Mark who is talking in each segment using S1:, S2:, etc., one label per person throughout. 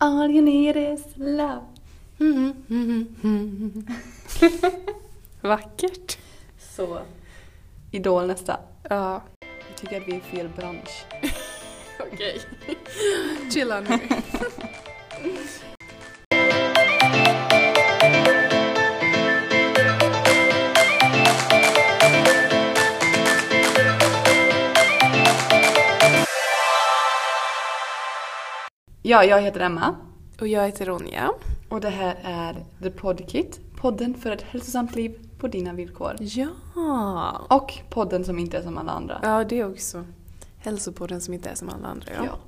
S1: All you need is love.
S2: Vackert.
S1: Så.
S2: Idol nästa. Ja. Jag tycker att vi är i fel bransch.
S1: Okej. Chilla nu.
S2: Ja, jag heter Emma.
S1: Och jag heter Ronja.
S2: Och det här är The Podkit. Podden för ett hälsosamt liv på dina villkor.
S1: Ja.
S2: Och podden som inte är som alla andra.
S1: Ja, det också. Hälsopodden som inte är som alla andra. Ja.
S2: Ja.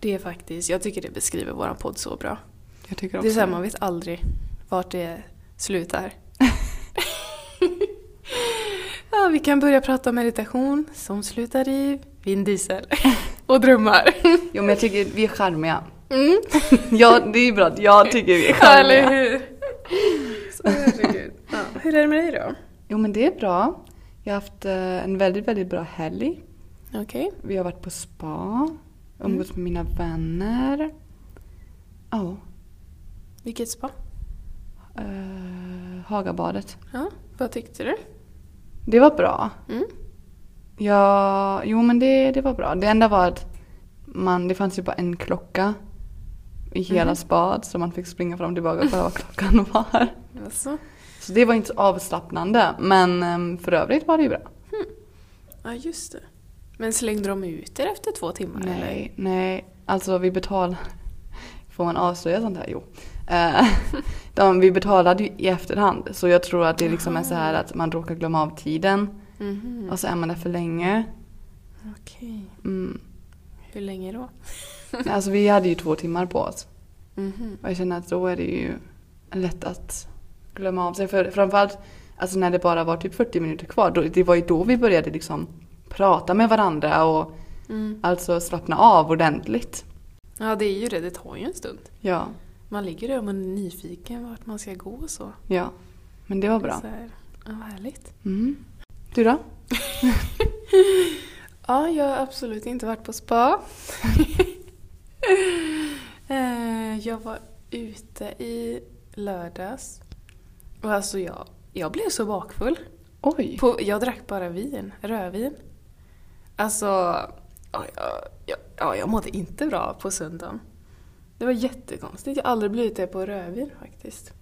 S1: Det är faktiskt, jag tycker det beskriver vår podd så bra.
S2: Jag tycker också
S1: Det är så här, man vet aldrig vart det slutar. ja, vi kan börja prata om meditation som slutar i vindiesel och drömmar.
S2: Jo, men jag tycker vi är charmiga.
S1: Mm.
S2: Ja, det är ju bra. att Jag tycker vi är
S1: Ja, eller
S2: charmiga.
S1: hur? Så, herregud. ja. Hur är det med dig då?
S2: Jo, men det är bra. Jag har haft eh, en väldigt, väldigt bra helg.
S1: Okej.
S2: Vi har varit på spa, umgåtts med mina vänner. Ja,
S1: Vilket spa?
S2: eh, Hagabadet.
S1: Ja, vad tyckte du?
S2: Det var bra.
S1: Mm.
S2: Ja, jo men det, det var bra. Det enda var att man, det fanns ju bara en klocka i hela
S1: Mhm.
S2: spad så man fick springa fram och tillbaka och kolla vad klockan var.
S1: Alltså,
S2: Så det var inte så avslappnande men em, för övrigt var det ju bra.
S1: ja just det. Men slängde de ut er efter två timmar eller?
S2: Nej, nej. Alltså vi betalar... Får man avslöja sånt här? Jo. Eh, De, vi betalade ju i efterhand så jag tror att det liksom är så här att man råkar glömma av tiden
S1: Mhm.
S2: och så är man där för länge.
S1: Okej.
S2: Mm.
S1: Hur länge då?
S2: Alltså vi hade ju två timmar på oss.
S1: Mhm.
S2: Och jag känner att då är det ju lätt att glömma av sig. För framförallt alltså när det bara var typ 40 minuter kvar, då, det var ju då vi började liksom prata med varandra och
S1: Mm.
S2: alltså slappna av ordentligt.
S1: Ja, det är ju det. Det tar ju en stund.
S2: Ja,
S1: Man ligger där och man är nyfiken vart man ska gå och så.
S2: ja. Men det var bra.
S1: så här. Ja, vad härligt.
S2: Mm. Du då?
S1: Ja, jag har absolut inte varit på spa. Eh, jag var ute i lördags. Och alltså jag, jag blev så bakfull.
S2: Oj!
S1: På, jag drack bara vin, rödvin. Alltså, ja, jag, ja, ja, jag mådde inte bra på söndagen. Det var jättekonstigt. Jag har aldrig blivit det på rödvin faktiskt.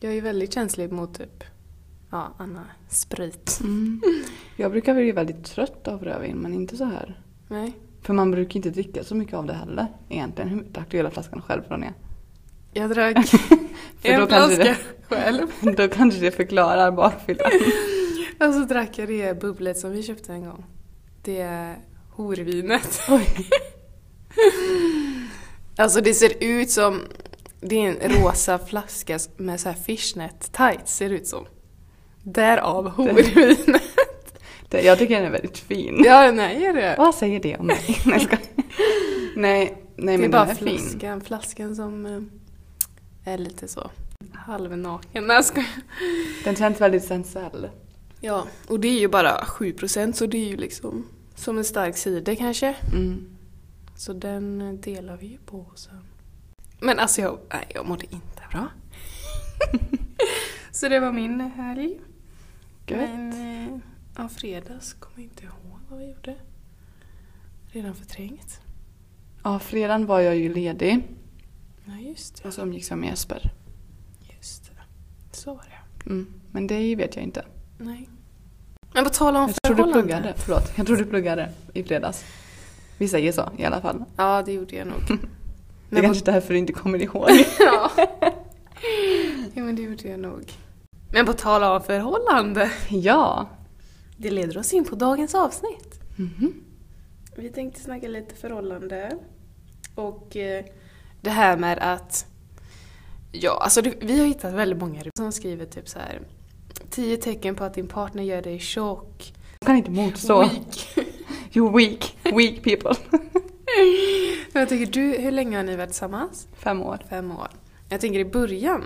S1: Jag är ju väldigt känslig mot typ, ja, Anna, sprit.
S2: Mm. Jag brukar bli väldigt trött av rödvin, men inte så här.
S1: Nej.
S2: För man brukar inte dricka så mycket av det heller egentligen. Hur drack du hela flaskan själv från er?
S1: Jag drack
S2: För
S1: en
S2: då kanske
S1: flaska själv.
S2: Då kanske det förklarar bakfyllan.
S1: Och så drack jag det bubblet som vi köpte en gång. Det horvinet.
S2: Oj.
S1: Alltså det ser ut som... Det är en rosa flaska med så här fishnet tights ser det ut som. Därav horvinet.
S2: Det- Jag tycker den är väldigt fin.
S1: Ja, nej är det.
S2: Vad säger det om mig? Nej, jag skojar. nej, nej
S1: det är
S2: men
S1: bara
S2: den är fin.
S1: flaskan, flaskan som eh, är lite så halvnaken. Nej, jag skojar.
S2: Den känns väldigt sensuell.
S1: Ja, och det är ju bara 7% så det är ju liksom som en stark cider kanske.
S2: Mm.
S1: Så den eh, delar vi ju på sen. Men alltså jag, nej, jag mådde inte bra. så det var min helg.
S2: Gött.
S1: Men eh, ja, fredags kommer jag inte ihåg vad vi gjorde. Redan förträngt.
S2: Ja, fredagen var jag ju ledig
S1: Ja, just det.
S2: och så umgicks jag med Jesper.
S1: Just det. Så var det.
S2: Mm. Men det vet jag inte.
S1: Nej. Men på tal om
S2: Jag tror du pluggade. Förlåt, jag tror du pluggade i fredags. Vi säger så i alla fall.
S1: Ja, det gjorde jag nog.
S2: Det är
S1: men, på,
S2: kanske därför du inte kommer ihåg.
S1: ja. ja, men det gjorde jag nog. Men på tal om förhållande.
S2: ja.
S1: Det leder oss in på dagens avsnitt.
S2: Mhm.
S1: Vi tänkte snacka lite förhållande. Och eh, det här med att... Ja, alltså det, vi har hittat väldigt många som skriver typ så här. Tio tecken på att din partner gör dig tjock.
S2: Jag kan inte motstå.
S1: Weak.
S2: You're weak. Weak people.
S1: Jag tänker, du, hur länge har ni varit tillsammans?
S2: Fem år.
S1: Fem år. Jag tänker i början.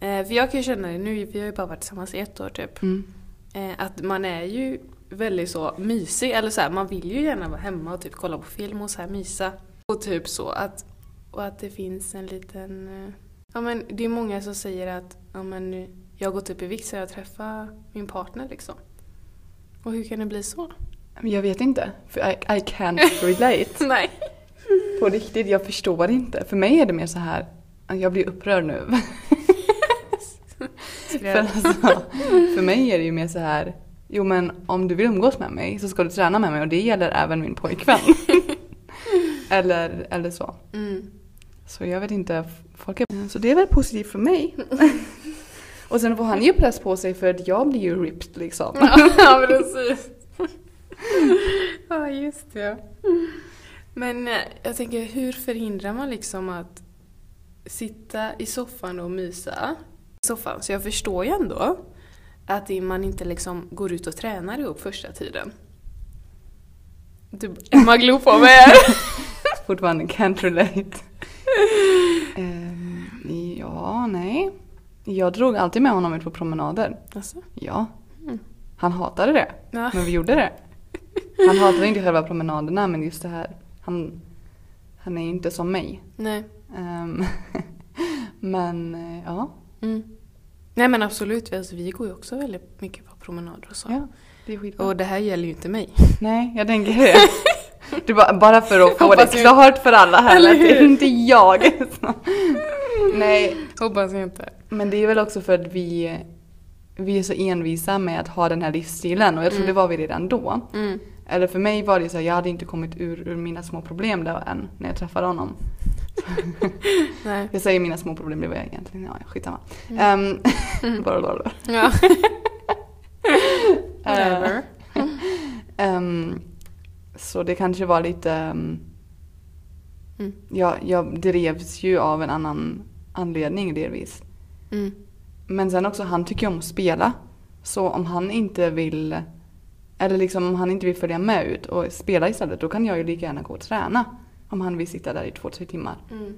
S1: Eh, för jag kan ju känna det nu, vi har ju bara varit tillsammans i ett år typ.
S2: Mm.
S1: Eh, att man är ju väldigt så mysig, eller så här, man vill ju gärna vara hemma och typ kolla på film och så här mysa. Och typ så att Och att det finns en liten... eh, Ja, men det är många som säger att ja, men, nu- jag har gått upp i vikt så jag träffar min partner liksom. Och hur kan det bli så?
S2: Men jag vet inte. För I, I can't relate.
S1: Nej.
S2: På riktigt, jag förstår inte. För mig är det mer så här, jag blir upprörd nu. För, alltså, för mig är det ju mer så här, jo men om du vill umgås med mig så ska du träna med mig och det gäller även min pojkvän. eller, eller så.
S1: Mm.
S2: Så jag vet inte, folk är... Så det är väl positivt för mig. och sen får han ju press på sig för att jag blir ju ripped liksom.
S1: Mm. ja, precis. ja, just det. Men eh, jag tänker, hur förhindrar man liksom att sitta i soffan och mysa? I soffan, så jag förstår ju ändå att det- man inte liksom går ut och tränar ihop första tiden. Du, Emma glor på mig här.
S2: Fortfarande can't relate. Ehm, ja, nej. Jag drog alltid med honom ut på promenader.
S1: Alltså?
S2: Ja.
S1: Mm.
S2: Han hatade det,
S1: Ja.
S2: men vi gjorde det. Han hatade inte själva promenaderna, men just det här. Han, han är ju inte som mig.
S1: Nej.
S2: Ehm, men eh, ja,
S1: Mm. Nej men absolut, alltså, vi går ju också väldigt mycket på promenader och så.
S2: ja, det är skitbra.
S1: Och det här gäller ju inte mig.
S2: Nej, jag tänker det. Du bara, bara för att få det
S1: Hoppas vi-
S2: klart för alla här
S1: Eller
S2: att det är
S1: hur?
S2: inte jag. Nej,
S1: Hoppas jag inte.
S2: men det är väl också för att vi, vi är så envisa med att ha den här livsstilen och jag tror
S1: Mm.
S2: det var vi redan då.
S1: Mm.
S2: Eller för mig var det så här, jag hade inte kommit ur, ur mina små problem där än när jag träffade honom.
S1: Nej.
S2: Jag säger mina små problem, det var jag egentligen, ja skitsamma.
S1: Mm.
S2: Um, bara, bara, bara.
S1: Ja.
S2: Eh, ehm, så det kanske var lite ehm,
S1: Mm.
S2: jag, jag drevs ju av en annan anledning delvis.
S1: Mm.
S2: Men sen också, han tycker ju om att spela. Så om han inte vill, eller liksom om han inte vill följa med ut och spela istället, då kan jag ju lika gärna gå och träna. Om han vill sitta där i två, tre timmar.
S1: Mm.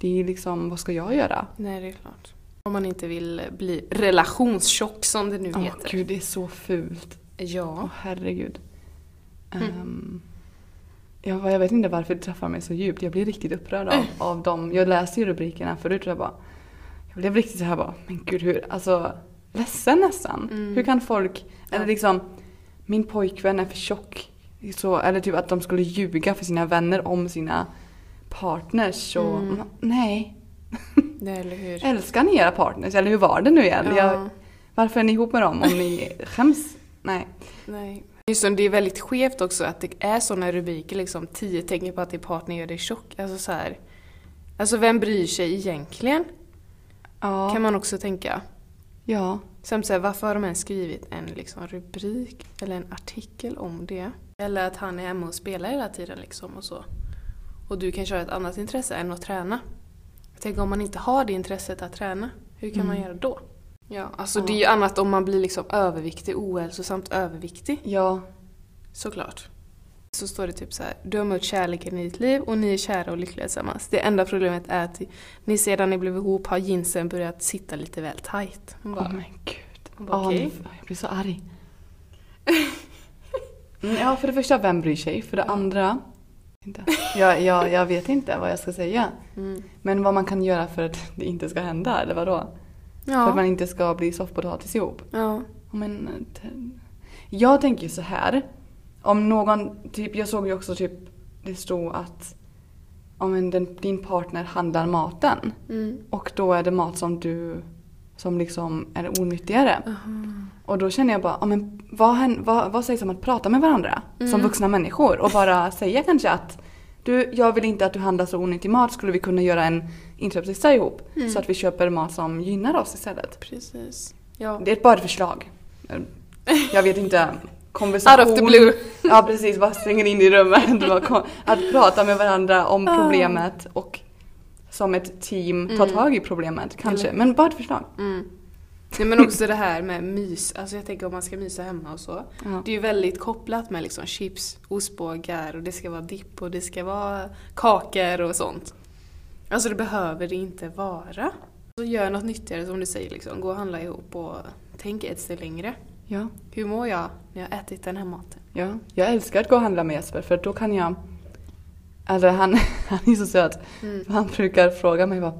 S2: Det är ju liksom, vad ska jag göra?
S1: Nej, det är klart. Om man inte vill bli relationstjock som det nu
S2: Åh
S1: heter.
S2: gud, det är så fult. Åh
S1: Ja.
S2: herregud.
S1: Mm.
S2: Ehm, jag, jag vet inte varför det träffar mig så djupt. Jag blir riktigt upprörd av, av dem. Jag läste ju rubrikerna förut och jag bara... Jag blev riktigt så här bara, men gud hur... Alltså ledsen nästan.
S1: Mm.
S2: Hur kan folk... Eller
S1: Ja.
S2: liksom, min pojkvän är för tjock. Så, eller typ att de skulle ljuga för sina vänner om sina partners. Och,
S1: Mm.
S2: Man- Nej.
S1: Nej, eller hur?
S2: Älskar ni era partners? Eller hur var det nu igen? Jag,
S1: Ja.
S2: varför är ni ihop med dem om ni skäms? Nej.
S1: Nej. Just det, det är väldigt skevt också att det är såna rubriker liksom. Tio tecken på att din partner gör dig tjock. Alltså så här. Alltså vem bryr sig egentligen?
S2: Ja.
S1: Kan man också tänka.
S2: ja.
S1: Samt så här, varför har de ens skrivit en liksom, rubrik eller en artikel om det? Eller att han är hemma och spelar hela tiden liksom och så. Och du kanske har ett annat intresse än att träna. Tänk om man inte har det intresset att träna, hur kan man
S2: Mm.
S1: göra då? Ja, alltså
S2: Ja.
S1: det är ju annat om man blir liksom överviktig, ohälsosamt överviktig.
S2: Ja.
S1: Såklart. Så står det typ så här. Du har mött kärleken i ditt liv och ni är kära och lyckliga tillsammans. Det enda problemet är att ni sedan ni blev ihop har jeansen börjat sitta lite väl tajt. Man bara,
S2: Oh men gud.
S1: Hon bara,
S2: Ja, nu-
S1: okej.
S2: Jag blir så arg. Mm, Ja, för det första, vem bryr sig? För det andra... Inte. Jag, jag, jag vet inte vad jag ska säga.
S1: Mm.
S2: Men vad man kan göra för att det inte ska hända, eller vadå? För att
S1: Ja.
S2: man inte ska bli soffpotatis ihop.
S1: ja.
S2: Ja, Men, eh, t- jag tänker ju så här. Om någon, typ, jag såg ju också typ, det stod att om en, den, din partner handlar maten
S1: Mm.
S2: och då är det mat som du, som liksom är onyttigare. Och då känner jag bara, ja, men vad, hän- vad, vad sägs om att prata med varandra som
S1: Mm.
S2: vuxna människor och bara säga kanske att du, jag vill inte att du handlar så onyttig mat, skulle vi kunna göra en inköpslista ihop
S1: Mm.
S2: så att vi köper mat som gynnar oss istället?
S1: Precis. Ja.
S2: Det är bara ett förslag. Jag vet inte, konversation.
S1: Out of the blue.
S2: Ja precis, bara slänger in i rummet. Bara kom- Att prata med varandra om
S1: Ah.
S2: problemet och som ett team ta
S1: Mm.
S2: tag i problemet kanske.
S1: Eller-
S2: Men bara ett förslag.
S1: Mm. Nej men också det här med mys, alltså jag tänker om man ska mysa hemma och så.
S2: Ja.
S1: Det är ju väldigt kopplat med liksom chips, ostbågar och det ska vara dipp och det ska vara kakor och sånt. Alltså det behöver det inte vara. Så gör något nyttigare som du säger liksom, gå och handla ihop och tänk ett steg längre.
S2: Ja.
S1: Hur mår jag när jag har ätit den här maten?
S2: Ja, jag älskar att gå och handla med Jesper för då kan jag Eller Alltså, han, han är så söt.
S1: Mm.
S2: Han brukar fråga mig bara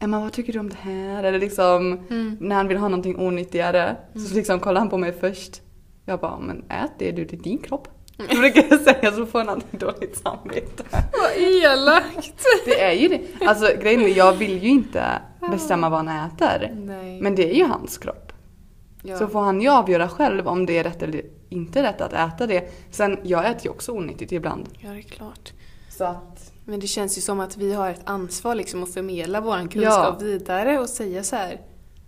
S2: Emma vad tycker du om det här? Eller liksom
S1: Mm.
S2: när han vill ha någonting onyttigare
S1: Mm.
S2: så liksom kollar han på mig först. Jag bara men ät det du, det är din kropp. Jag
S1: Mm.
S2: brukar jag säga så får han alltid dåligt samvete.
S1: Vad elakt!
S2: Det är ju det. Alltså grejen är jag vill ju inte bestämma vad han äter.
S1: Nej.
S2: Men det är ju hans kropp.
S1: ja.
S2: Så får han ju avgöra själv om det är rätt eller inte rätt att äta det. Sen jag äter ju också onyttigt ibland.
S1: ja, det är klart.
S2: Så att
S1: Men det känns ju som att vi har ett ansvar liksom att förmedla vår kunskap
S2: Ja.
S1: vidare och säga så här.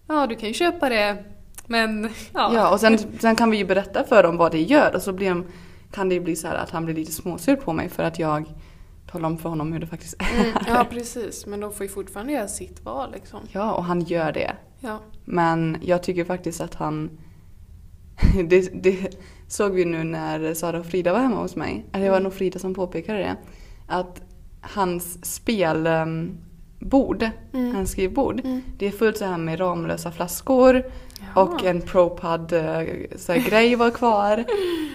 S1: Ja, du kan ju köpa det, men ja.
S2: Ja, och sen, sen kan vi ju berätta för dem vad det gör och så blir, de- kan det ju bli så här att han blir lite småsur på mig för att jag talar om för honom hur det faktiskt är.
S1: Mm, ja, precis. Men de får ju fortfarande göra sitt val liksom.
S2: Ja, och han gör det.
S1: Ja.
S2: Men jag tycker faktiskt att han... Det, det såg vi nu när Sara och Frida var hemma hos mig. Eller det var nog Frida som påpekade det. Att hans spelbord,
S1: Mm.
S2: hans skrivbord,
S1: Mm.
S2: det är fullt så här med Ramlösa flaskor
S1: Jaha.
S2: och en propad eh, så här, grej var kvar.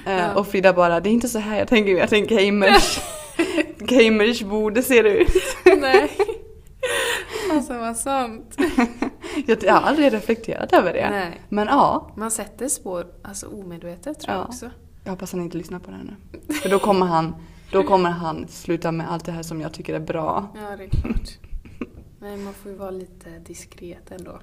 S2: Eh,
S1: Ja.
S2: Och Frida bara, det är inte så här jag tänker, jag tänker gamers. gamers bord ser det ut.
S1: Nej. Alltså vad sant.
S2: Jag, jag har aldrig reflekterat över det.
S1: Nej.
S2: Men ja,
S1: Man sätter spår, alltså omedvetet tror jag
S2: Ja.
S1: också.
S2: jag hoppas han inte lyssnar på det här nu. För då kommer han, då kommer han sluta med allt det här som jag tycker är bra.
S1: Ja, det är klart. Nej, man får ju vara lite diskret ändå.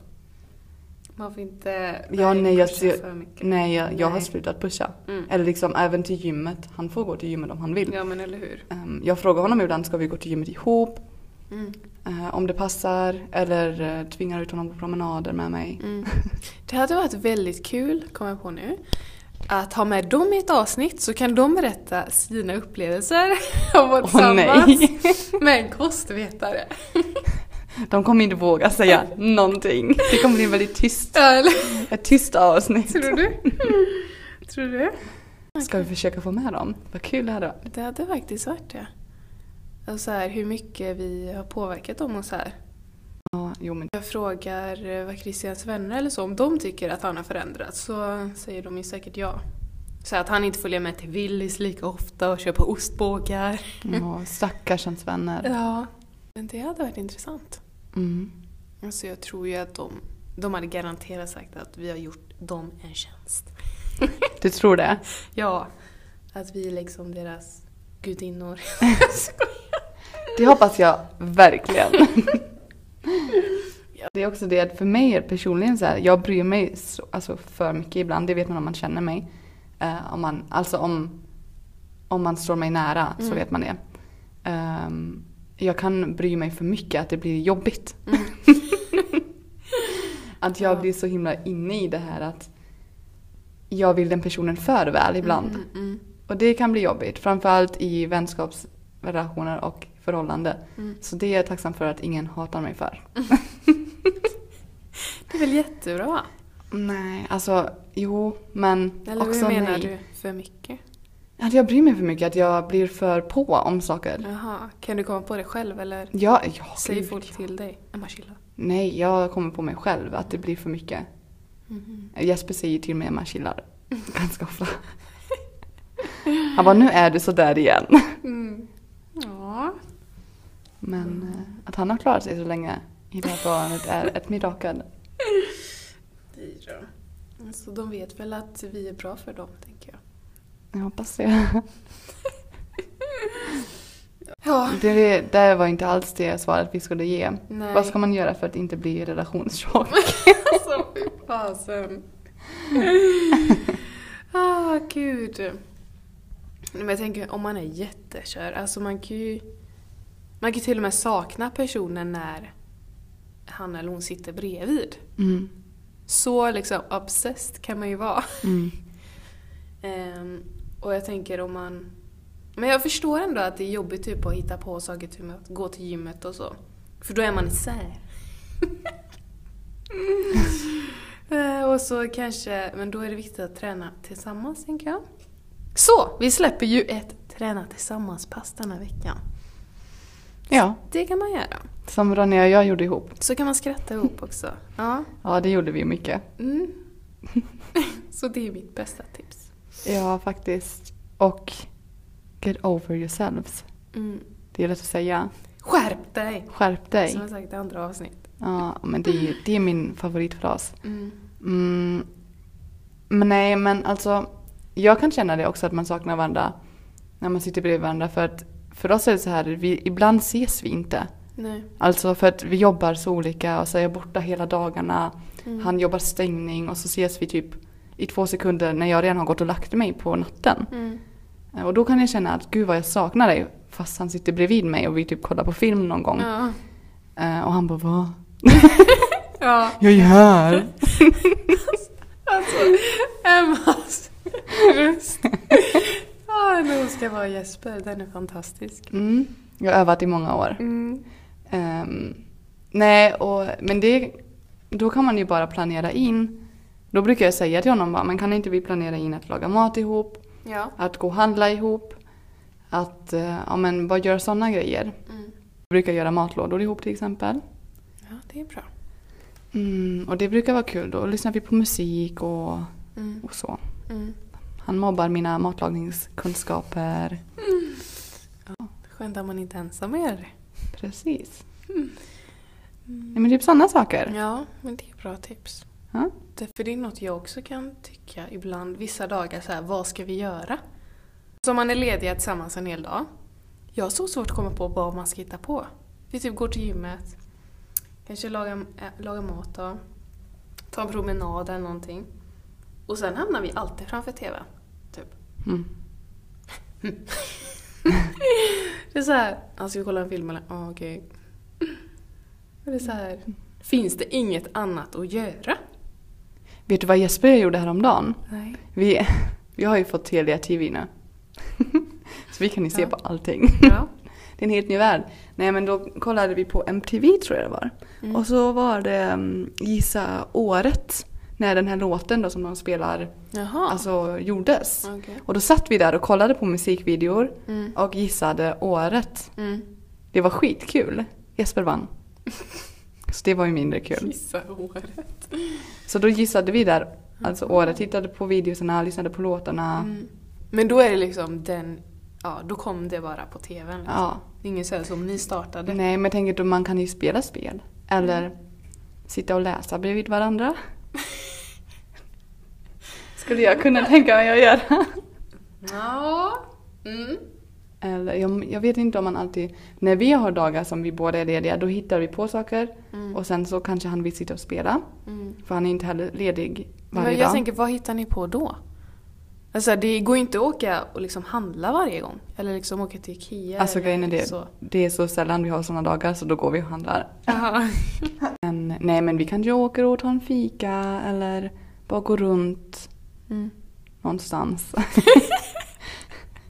S1: Man får inte
S2: Ja, nej, jag
S1: pusha
S2: ser-
S1: för mycket.
S2: Nej, jag, jag har
S1: Nej.
S2: slutat pusha.
S1: Mm.
S2: Eller liksom även till gymmet. Han får gå till gymmet om han vill.
S1: Ja, men eller hur.
S2: Ehm, Jag frågar honom ibland, ska vi gå till gymmet ihop?
S1: Mm.
S2: Eh, Om det passar. Eller eh, tvingar ut honom på promenader med mig.
S1: Mm. Det hade varit väldigt kul, kommer jag på nu, att ha med dem i ett avsnitt så kan de berätta sina upplevelser av vårt
S2: Åh,
S1: samband
S2: nej.
S1: med en kostvetare.
S2: De kommer inte våga säga någonting. Det kommer bli väldigt tyst.
S1: Ja, eller?
S2: Ett tyst avsnitt.
S1: Tror du? Tror du?
S2: Ska vi försöka få med dem? Vad kul det hade varit.
S1: Det hade faktiskt varit det. Och så här, hur mycket vi har påverkat dem och så här.
S2: Ja, jo men
S1: Jag frågar eh, vad Christians vänner eller så, om de tycker att han har förändrats så säger de ju säkert ja. Så att han inte följer med till Willys lika ofta och köper ostbågar.
S2: ja, stackars hans vänner.
S1: Ja. Men det hade varit intressant.
S2: Mm.
S1: Alltså jag tror ju att de, de hade garanterat sagt att vi har gjort dem en tjänst.
S2: Du tror det?
S1: Ja. Att vi är liksom deras gudinnor.
S2: Det hoppas jag verkligen. Det är också det att för mig är personligen så här, jag bryr mig så, alltså för mycket ibland, det vet man om man känner mig. Eh, om man, alltså om, om man står mig nära så
S1: Mm.
S2: vet man det. Ehm, jag kan bry mig för mycket, att det blir jobbigt. att jag
S1: Ja.
S2: blir så himla inne i det här att jag vill den personen för väl ibland.
S1: Mm, mm,
S2: Och det kan bli jobbigt, framförallt i vänskapsrelationer och förhållande.
S1: mm.
S2: Så det är jag tacksam för att ingen hatar mig för.
S1: Det är väl jättebra?
S2: Nej, alltså jo, men
S1: Eller
S2: också
S1: hur menar
S2: nej.
S1: du? För mycket?
S2: Att jag bryr mig för mycket, att jag blir för på om saker.
S1: Jaha, kan du komma på det själv eller
S2: Ja, ja,
S1: säger
S2: gud,
S1: folk
S2: ja.
S1: till dig? Emma chilla.
S2: Nej, jag kommer på mig själv att det blir för mycket.
S1: Mm,
S2: Jesper säger till mig när man chillar. Ganska ofta. Han bara, nu är du sådär igen.
S1: Mm. Ja.
S2: Men eh, att han har klarat sig så länge i det här förhållandet är ett mirakel.
S1: Så Alltså, de vet väl att vi är bra för dem, tänker jag.
S2: Jag hoppas det.
S1: Ja.
S2: Det, det var inte alls det svaret vi skulle ge.
S1: Nej.
S2: Vad ska man göra för att inte bli relationstjock?
S1: Alltså fy fasen. ah, gud. Nej, Men jag tänker om man är jättekär, alltså man kan ju man kan ju till och med sakna personen när han eller hon sitter bredvid.
S2: Mm.
S1: Så liksom obsessed kan man ju vara.
S2: Mm.
S1: Ehm, och jag tänker om man... Men jag förstår ändå att det är jobbigt typ att hitta på saker, typ att gå till gymmet och så. För då är man isär. Ehm, och så kanske, men då är det viktigt att träna tillsammans tänker jag. Så! Vi släpper ju ett träna tillsammans-pass den här veckan.
S2: Ja,
S1: Det kan man göra.
S2: som Ronja och jag gjorde ihop.
S1: Så kan man skratta ihop också. Ja.
S2: Ja, det gjorde vi mycket.
S1: Mm. så det är mitt bästa tips.
S2: Ja, faktiskt. Och get over yourselves.
S1: Mm.
S2: Det är lätt att säga.
S1: Skärp dig!
S2: Skärp
S1: Som
S2: dig.
S1: jag sagt i andra avsnitt.
S2: Ja, men det är, det är min favoritfras.
S1: Mm.
S2: Mm. Men nej, men alltså. Jag kan känna det också att man saknar varandra när man sitter bredvid varandra. För att för oss är det så här, vi, ibland ses vi inte.
S1: Nej.
S2: Alltså för att vi jobbar så olika och så är jag borta hela dagarna.
S1: Mm.
S2: Han jobbar stängning och så ses vi typ i två sekunder när jag redan har gått och lagt mig på natten. Eh,
S1: Mm.
S2: Och då kan jag känna att gud vad jag saknar dig fast han sitter bredvid mig och vi typ kollar på film någon gång.
S1: Ja.
S2: Eh, Och han bara va?
S1: ja.
S2: Jag är ju här!
S1: Alltså, Emmas röst. Ja, nu ska vara Jesper. Den är fantastisk.
S2: Mm. Jag har övat i många år.
S1: Mm.
S2: Ehm, nej, och, men det, då kan man ju bara planera in. Då brukar jag säga till honom bara, men kan inte vi planera in att laga mat ihop?
S1: Ja.
S2: Att gå och handla ihop? Att, eh, ja men vad gör sådana grejer?
S1: Mm.
S2: Vi brukar göra matlådor ihop till exempel.
S1: Ja, det är bra.
S2: Mm, och det brukar vara kul. Då lyssnar vi på musik och,
S1: Mm.
S2: och så.
S1: Mm.
S2: Han mobbar mina matlagningskunskaper.
S1: Skönt att man inte är ensam och gör det.
S2: Precis. Nej,
S1: Mm.
S2: men typ sådana saker.
S1: Ja, men det är bra tips.
S2: Ja.
S1: Det, för det är något jag också kan tycka ibland, vissa dagar så här, vad ska vi göra? Så om man är lediga tillsammans en hel dag. Jag har så svårt att komma på vad man ska hitta på. Vi typ går till gymmet, kanske lagar, äh, lagar mat då, tar en promenad eller någonting. Och sen hamnar vi alltid framför TVn. Typ.
S2: Mm.
S1: Det är så här, "Ja, ska vi kolla en film eller? Ja, okej. Och Det är så här, finns det inget annat att göra?
S2: Vet du vad Jesper och jag gjorde häromdagen?
S1: Nej.
S2: Vi, vi har ju fått Telia TV nu. Så vi kan ju se
S1: Ja.
S2: på allting.
S1: Ja.
S2: Det är en helt ny värld. Nej men då kollade vi på MTV tror jag det var.
S1: Mm.
S2: Och så var det mm, Gissa året. När den här låten då som de spelar
S1: Jaha.
S2: alltså gjordes.
S1: Okej.
S2: Och då satt vi där och kollade på musikvideor
S1: Mm.
S2: och gissade året.
S1: Mm.
S2: Det var skitkul. Jesper vann. Så det var ju mindre kul.
S1: Kissa håret.
S2: Så då gissade vi där, alltså året, tittade på videorna, lyssnade på låtarna.
S1: Mm. Men då är det liksom den, ja då kom det bara på tvn. Liksom.
S2: Ja.
S1: Det är ingen så här som ni startade.
S2: Nej men jag tänker då man kan ju spela spel. Eller
S1: Mm.
S2: sitta och läsa bredvid varandra. Skulle jag kunna tänka mig att göra.
S1: Ja. Mm.
S2: Eller, jag, jag vet inte om man alltid... När vi har dagar som vi båda är lediga då hittar vi på saker.
S1: Mm.
S2: Och sen så kanske han vill sitta och spela.
S1: Mm.
S2: För han är inte heller ledig varje
S1: Men jag
S2: dag.
S1: tänker, vad hittar ni på då? Alltså det går ju inte att åka och liksom handla varje gång. Eller liksom åka till Ikea.
S2: Alltså
S1: eller
S2: grejen är det,
S1: Så.
S2: det är så sällan vi har sådana dagar så då går vi och handlar.
S1: Ja.
S2: Men, nej men vi kanske åker och tar en fika eller bara går runt
S1: Mm.
S2: någonstans.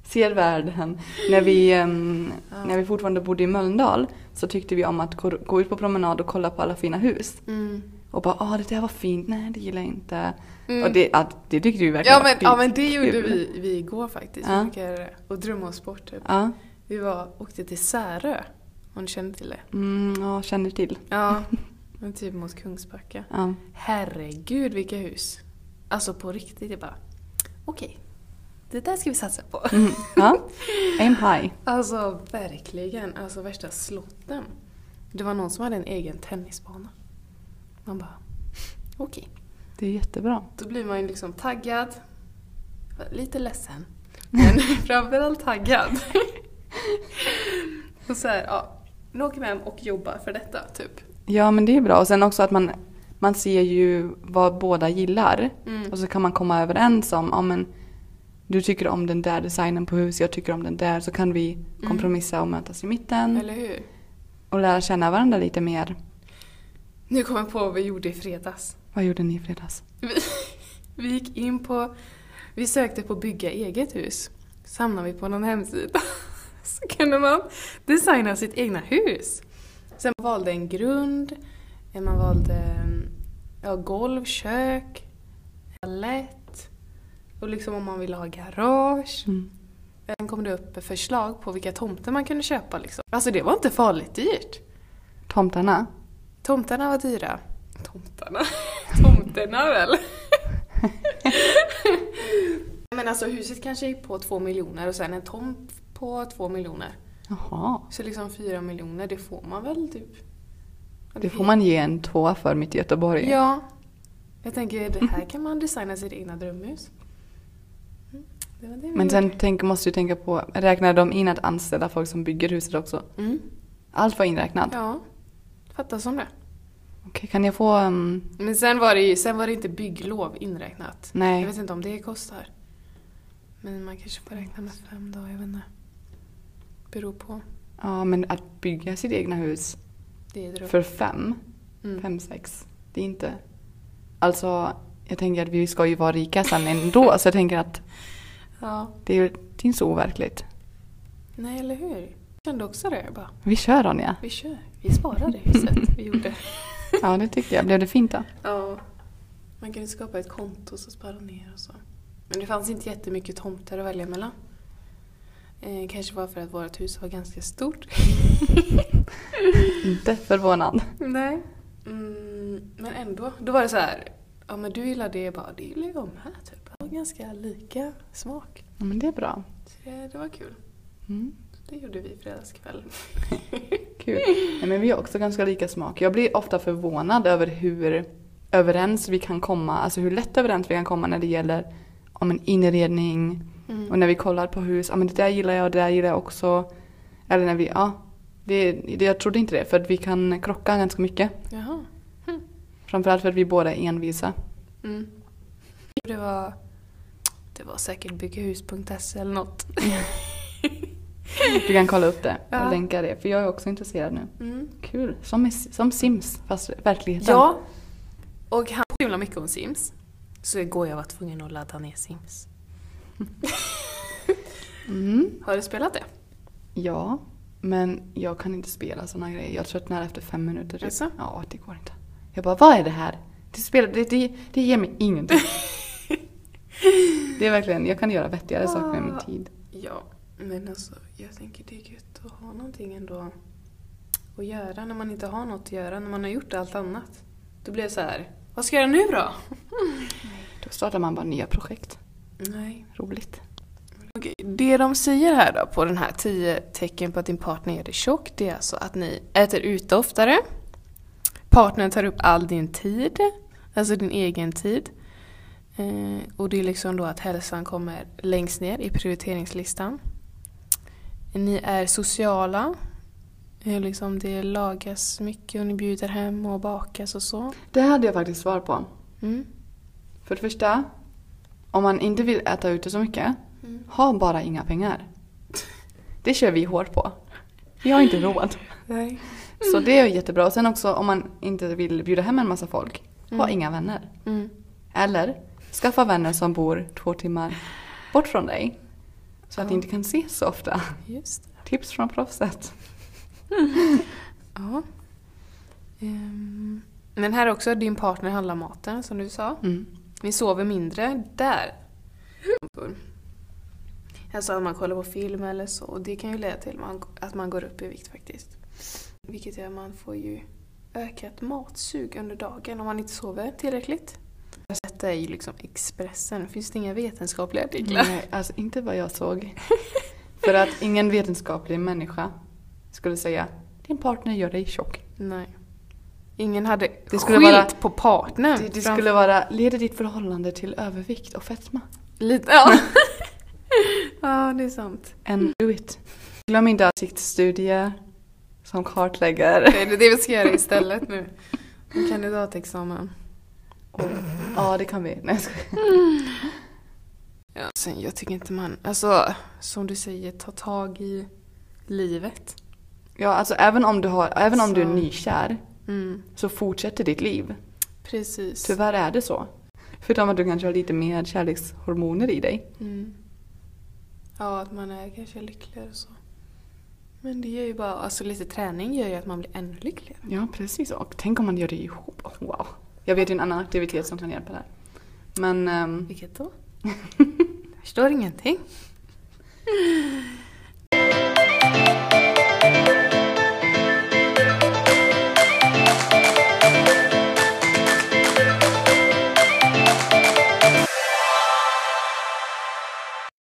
S2: Ser världen. När vi, ehm,
S1: Ja.
S2: när vi fortfarande bodde i Mölndal så tyckte vi om att gå, gå ut på promenad och kolla på alla fina hus.
S1: Mm.
S2: Och bara ah det där var fint, nej det gillar jag inte.
S1: Mm.
S2: Och det, ja, det tyckte vi verkligen
S1: Ja men, ja men det
S2: skitkul.
S1: gjorde vi, vi igår faktiskt.
S2: Ja.
S1: Vi brukar och drömma oss bort typ.
S2: Ja,
S1: Vi var, åkte till Särö. Om du känner till det?
S2: mm, ja känner till.
S1: Ja. men typ mot Kungsbacka.
S2: Ja.
S1: Herregud vilka hus. Alltså på riktigt, jag bara okej. Det där ska vi satsa på.
S2: Mm, ja, aim high.
S1: Alltså verkligen, alltså värsta slotten. Det var någon som hade en egen tennisbana. Man bara okej.
S2: Det är jättebra.
S1: Då blir man ju liksom taggad. Lite ledsen. Men framförallt taggad. och så här, ja. Nu åker vi hem och jobbar för detta, typ.
S2: Ja men det är bra. Och sen också att man, man ser ju vad båda gillar.
S1: Mm.
S2: Och så kan man komma överens om, ja men du tycker om den där designen på huset, jag tycker om den där. Så kan vi kompromissa och mötas i mitten.
S1: Eller hur?
S2: Och lära känna varandra lite mer.
S1: Nu kommer jag på vad vi gjorde i fredags.
S2: Vad gjorde ni i fredags?
S1: Vi, vi gick in på... Vi sökte på bygga eget hus. Så hamnade vi på någon hemsida. Så kunde man designa sitt egna hus. Sen valde en grund, eh, man valde mm, ja, golv, kök, toalett och liksom om man ville ha garage.
S2: Mm.
S1: Sen kom det upp förslag på vilka tomter man kunde köpa. Liksom. Alltså det var inte farligt dyrt.
S2: Tomtarna?
S1: Tomtarna var dyra. Tomtarna? Tomterna väl? Men alltså huset kanske gick på två miljoner och sen en tomt på två miljoner.
S2: Jaha.
S1: Så liksom fyra miljoner, det får man väl typ? Ja,
S2: Det får
S1: fin-
S2: man ge en tvåa för mitt i Göteborg.
S1: Ja. Jag tänker, det här kan man designa sitt egna drömhus. Mm, det var det vi
S2: Men sen
S1: gjorde.
S2: tänk, måste du tänka på, räknar de in att anställa folk som bygger huset också?
S1: Mm.
S2: Allt var inräknat?
S1: Ja, fattar som det.
S2: Okej, kan jag få... ehm,
S1: Men sen var det ju, sen var det inte bygglov inräknat.
S2: Nej.
S1: Jag vet inte om det kostar. Men man kanske får räkna med fem dagar, jag vet inte. Beror på.
S2: ja, men att bygga sitt egna hus
S1: Det är dröm.
S2: för fem,
S1: Mm.
S2: fem, sex, det är inte... Alltså, jag tänker att vi ska ju vara rika sen ändå, så jag tänker att
S1: Ja,
S2: det är ju det är inte så overkligt.
S1: nej eller hur? Jag kände också det, jag bara,
S2: Vi kör Ronja.
S1: vi kör. Vi sparar det huset vi gjorde.
S2: Ja, det tyckte jag. Blev det fint då?
S1: Ja. Man kan ju skapa ett konto och så spara ner och så. Men det fanns inte jättemycket tomter att välja mellan. Eh, kanske var för att vårt hus var ganska stort.
S2: Inte förvånad.
S1: Nej. Mm, men ändå. Då var det så här. Ja men du gillar det, jag bara det gillar jag med typ. Det var ganska lika smak.
S2: Ja, men det är bra.
S1: Så Eh, det, det var kul.
S2: Mm.
S1: Det gjorde vi fredagskväll.
S2: Kul. Nej, men vi har också ganska lika smak. Jag blir ofta förvånad över hur överens vi kan komma, alltså hur lätt överens vi kan komma när det gäller om en inredning
S1: Mm.
S2: och när vi kollar på hus, ja men det där gillar jag och det där gillar jag också. Eller när vi, ja, det, det, jag trodde inte det för att vi kan krocka ganska mycket.
S1: Jaha.
S2: Framförallt för att vi båda är envisa.
S1: Mm. Det var, det var säkert byggahus.se eller något.
S2: Du kan kolla upp det och
S1: Ja.
S2: länka det för jag är också intresserad nu.
S1: Mm.
S2: Kul, som, i- som Sims fast verkligheten.
S1: Ja. Och han himla mycket om Sims. Så igår jag var tvungen att ladda ner Sims.
S2: Mm.
S1: Har du spelat det?
S2: Ja, men jag kan inte spela såna grejer. Jag tröttnar efter fem minuter. typ.
S1: Jaså?
S2: Ja, det går inte. Jag bara, vad är det här? Det, spelar, det, det, det ger mig ingenting. det är verkligen, jag kan göra vettigare saker med
S1: Ah.
S2: min tid.
S1: Ja, men alltså jag tänker det är gött att ha någonting ändå att göra när man inte har något att göra, när man har gjort allt annat. Då blir det så här, vad ska jag göra nu då?
S2: Då startar man bara nya projekt.
S1: Nej.
S2: Roligt.
S1: Okej, det de säger här då på den här 10 tecken på att din partner gör dig tjock, det är alltså att ni äter ute oftare, partnern tar upp all din tid, alltså din egen tid, eh, och det är liksom då att hälsan kommer längst ner i prioriteringslistan. Ni är sociala, eh, liksom det lagas mycket och ni bjuder hem och bakas och så.
S2: Det hade jag faktiskt svar på.
S1: Mm.
S2: För det första, om man inte vill äta ute så mycket,
S1: Mm.
S2: ha bara inga pengar. Det kör vi hårt på. Vi har inte råd.
S1: Nej.
S2: Så det är ju jättebra. Och sen också om man inte vill bjuda hem en massa folk, ha
S1: Mm.
S2: inga vänner.
S1: Mm.
S2: Eller skaffa vänner som bor två timmar bort från dig. Så att ni
S1: Ja.
S2: inte kan ses så ofta.
S1: Just det.
S2: Tips från proffset.
S1: Ja. Ehm, Men här också, din partner handlar maten som du sa.
S2: Mm.
S1: Ni sover mindre där. Alltså att man kollar på film eller så. Och det kan ju leda till man- att man går upp i vikt faktiskt. Vilket gör att man får ju ökat matsug under dagen om man inte sover tillräckligt. Detta är ju liksom Expressen. Finns det inga vetenskapliga artiklar?
S2: Nej, alltså inte vad jag såg. För att ingen vetenskaplig människa skulle säga din partner gör dig tjock.
S1: Nej. Ingen hade
S2: Det skulle
S1: skilt
S2: vara-
S1: på partnern.
S2: Det, det
S1: framför-
S2: skulle vara, leder ditt förhållande till övervikt och fetma?
S1: Lite, ja. ja, det är sant.
S2: And do it. Glöm inte ansiktsstudier som kartlägger.
S1: Det är det vi ska göra istället nu. En kandidatexamen.
S2: Ja, det kan vi. Nej, jag skojar.
S1: Ja, sen jag tycker inte man, alltså som du säger, ta tag i livet.
S2: Ja, alltså även om du, har, även om du är
S1: Så.
S2: nykär
S1: Mm,
S2: så fortsätter ditt liv.
S1: precis.
S2: Tyvärr är det så. Förutom att du kanske har lite mer kärlekshormoner i dig.
S1: Mm. Ja, att man är kanske lyckligare och så. Men det gör ju bara, alltså lite träning gör ju att man blir ännu lyckligare.
S2: Ja, precis. Och tänk om man gör det ihop. Oh, Wow. Jag vet ju en annan aktivitet som kan hjälpa där. Men ehm,
S1: Vilket då? jag förstår ingenting.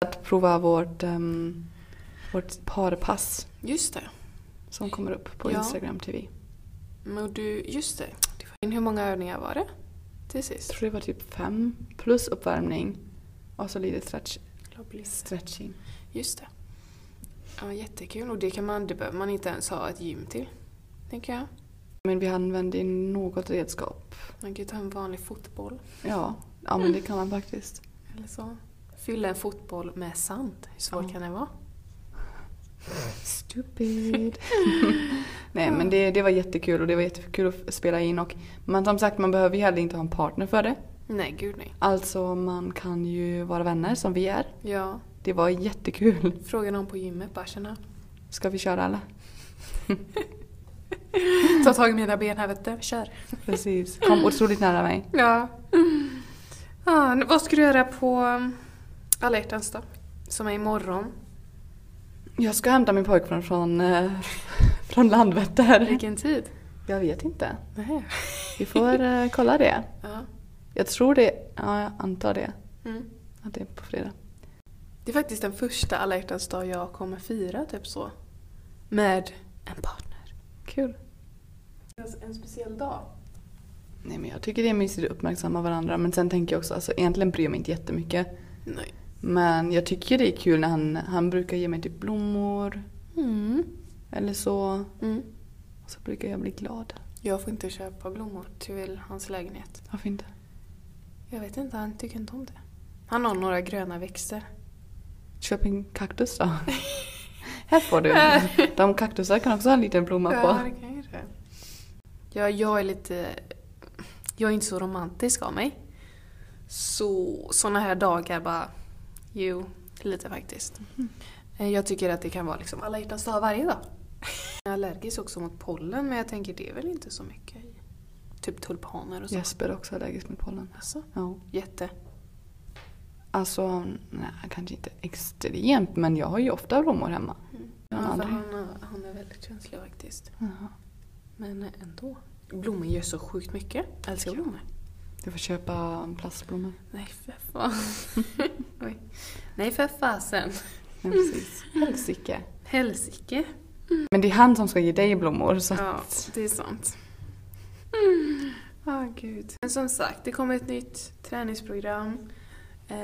S2: att prova vårt ehm, Vårt parpass
S1: Just det.
S2: som kommer upp på
S1: Ja.
S2: Instagram TV.
S1: Men du, just det. Det var- Hur många övningar var det? Till
S2: Jag
S1: sist.
S2: tror det var typ fem plus uppvärmning och så lite stretch, stretching.
S1: Just det. Ja, jättekul. Och det, kan man, det behöver man inte ens ha ett gym till, tänker jag.
S2: Men vi använde ju något redskap.
S1: Man kan ju ta en vanlig fotboll
S2: Ja, ja men det kan man faktiskt.
S1: eller så. Fylla en fotboll med sand. Hur svårt
S2: Ja.
S1: kan det vara?
S2: Stupid. Nej men det, det var jättekul och det var jättekul att spela in och man, som sagt man behöver ju heller inte ha en partner för det.
S1: Nej, gud nej.
S2: Alltså man kan ju vara vänner som vi är.
S1: Ja,
S2: Det var jättekul.
S1: fråga någon på gymmet bara känna.
S2: Ska vi köra alla?
S1: Ta tag i mina ben här vet du. Kör.
S2: Precis. Kom otroligt nära mig.
S1: Ja. ja nu- vad ska du göra på um, alla hjärtans dag? Som är imorgon.
S2: Jag ska hämta min pojkvän från, eh, från Landvetter.
S1: Vilken tid?
S2: Jag vet inte.
S1: Nej.
S2: Vi får eh, kolla det.
S1: Ja.
S2: Jag tror det. Ja, jag antar det.
S1: Mm.
S2: Att det är på fredag.
S1: Det är faktiskt den första alla hjärtans dag jag kommer fira, typ så. Med en partner.
S2: Kul.
S1: En speciell dag.
S2: Nej men jag tycker det är mysigt att uppmärksamma varandra. Men sen tänker jag också, alltså egentligen bryr jag mig inte jättemycket.
S1: Nej.
S2: Men jag tycker det är kul när han, han brukar ge mig typ blommor
S1: Mm.
S2: eller så.
S1: Mm.
S2: Och så brukar jag bli glad.
S1: Jag får inte köpa blommor till hans lägenhet.
S2: Varför inte?
S1: Jag vet inte, han tycker inte om det. Han har några gröna växter.
S2: Köp en kaktus då. Här får du. De kaktusar kan också ha en liten blomma
S1: Ja,
S2: på.
S1: det kan ju det. Ja, jag är lite... Jag är inte så romantisk av mig. Så såna här dagar bara... Jo, lite faktiskt. Eh, Jag tycker att det kan vara liksom alla hjärtans dag varje dag. Jag är allergisk också mot pollen men jag tänker det är väl inte så mycket i typ tulpaner och så.
S2: Jesper är också allergisk mot pollen.
S1: Alltså,
S2: Ja.
S1: jätte.
S2: Alltså, nej, kanske inte extremt men jag har ju ofta blommor hemma.
S1: Ja,
S2: Jag har
S1: för
S2: aldrig-
S1: han, har- han är väldigt känslig faktiskt.
S2: Jaha.
S1: Men ändå. Blommor gör så sjukt mycket. Jag älskar
S2: Ja.
S1: blommor.
S2: Du får köpa plastblommor.
S1: Nej för fan. Oj. Nej för fasen.
S2: Ja, precis. Helsike.
S1: Helsike.
S2: Men det är han som ska ge dig blommor så
S1: Ja,
S2: att...
S1: det är sant. Ah, gud. Men som sagt, det kommer ett nytt träningsprogram. Eh,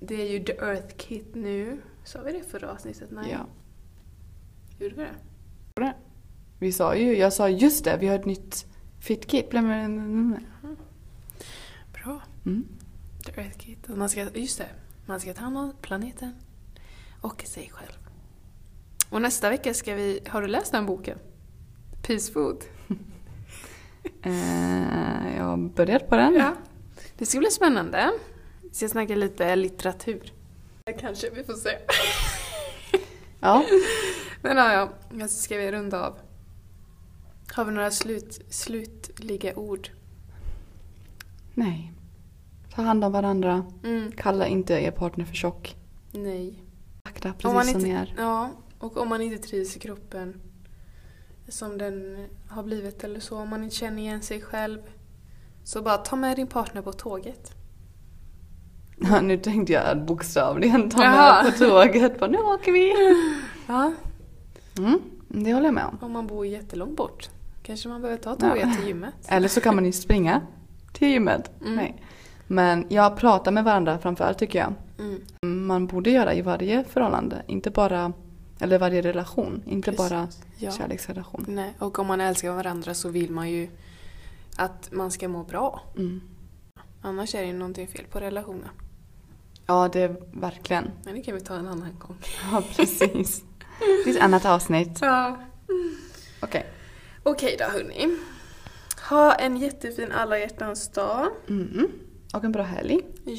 S1: Det är ju The Earth Kit nu. Sa vi det förra avsnittet? Nej.
S2: Ja.
S1: Gjorde vi det?
S2: Vi sa ju, jag sa just det, vi har ett nytt fitkit. Mm.
S1: Bra. The Earth Kit. Och Man ska, just det, man ska ta hand om planeten. Och sig själv. Och nästa vecka ska vi... Har du läst den boken? Peace Food.
S2: Eh, jag har börjat på den.
S1: Ja. Det ska bli spännande. Vi ska snacka lite litteratur. Kanske, vi får se.
S2: Ja.
S1: Men ja, ja. Jag ska vi runda av. Har vi några slut, slutliga ord?
S2: Nej. Ta hand om varandra.
S1: Mm.
S2: Kalla inte er partner för tjock.
S1: Nej.
S2: Vackra
S1: Om man
S2: precis som ni
S1: inte-
S2: är.
S1: Ja, och om man inte trivs i kroppen som den har blivit eller så, om man inte känner igen sig själv så bara ta med din partner på tåget.
S2: Ja, nu tänkte jag bokstavligen ta
S1: Jaha.
S2: med på tåget. Bara, nu åker vi.
S1: Ja.
S2: Mm, det håller jag med om.
S1: Om man bor jättelångt bort kanske man behöver ta
S2: Ja.
S1: tåget till gymmet.
S2: Eller så kan man ju springa till gymmet.
S1: Mm.
S2: Nej. Men jag pratar med varandra framförallt tycker jag.
S1: Mm.
S2: Man borde göra i varje förhållande. Inte bara, eller varje relation. Inte
S1: Precis.
S2: bara
S1: Ja.
S2: kärleksrelation.
S1: Nej, och om man älskar varandra så vill man ju att man ska må bra.
S2: Mm.
S1: Annars är det ju någonting fel på relationen.
S2: Ja, det är verkligen.
S1: Men det kan vi ta en annan gång.
S2: Ja, precis. det är ett annat avsnitt.
S1: Ja.
S2: Okej.
S1: Okej då hörni. Ha en jättefin alla hjärtans dag.
S2: Mm. Och en bra helg.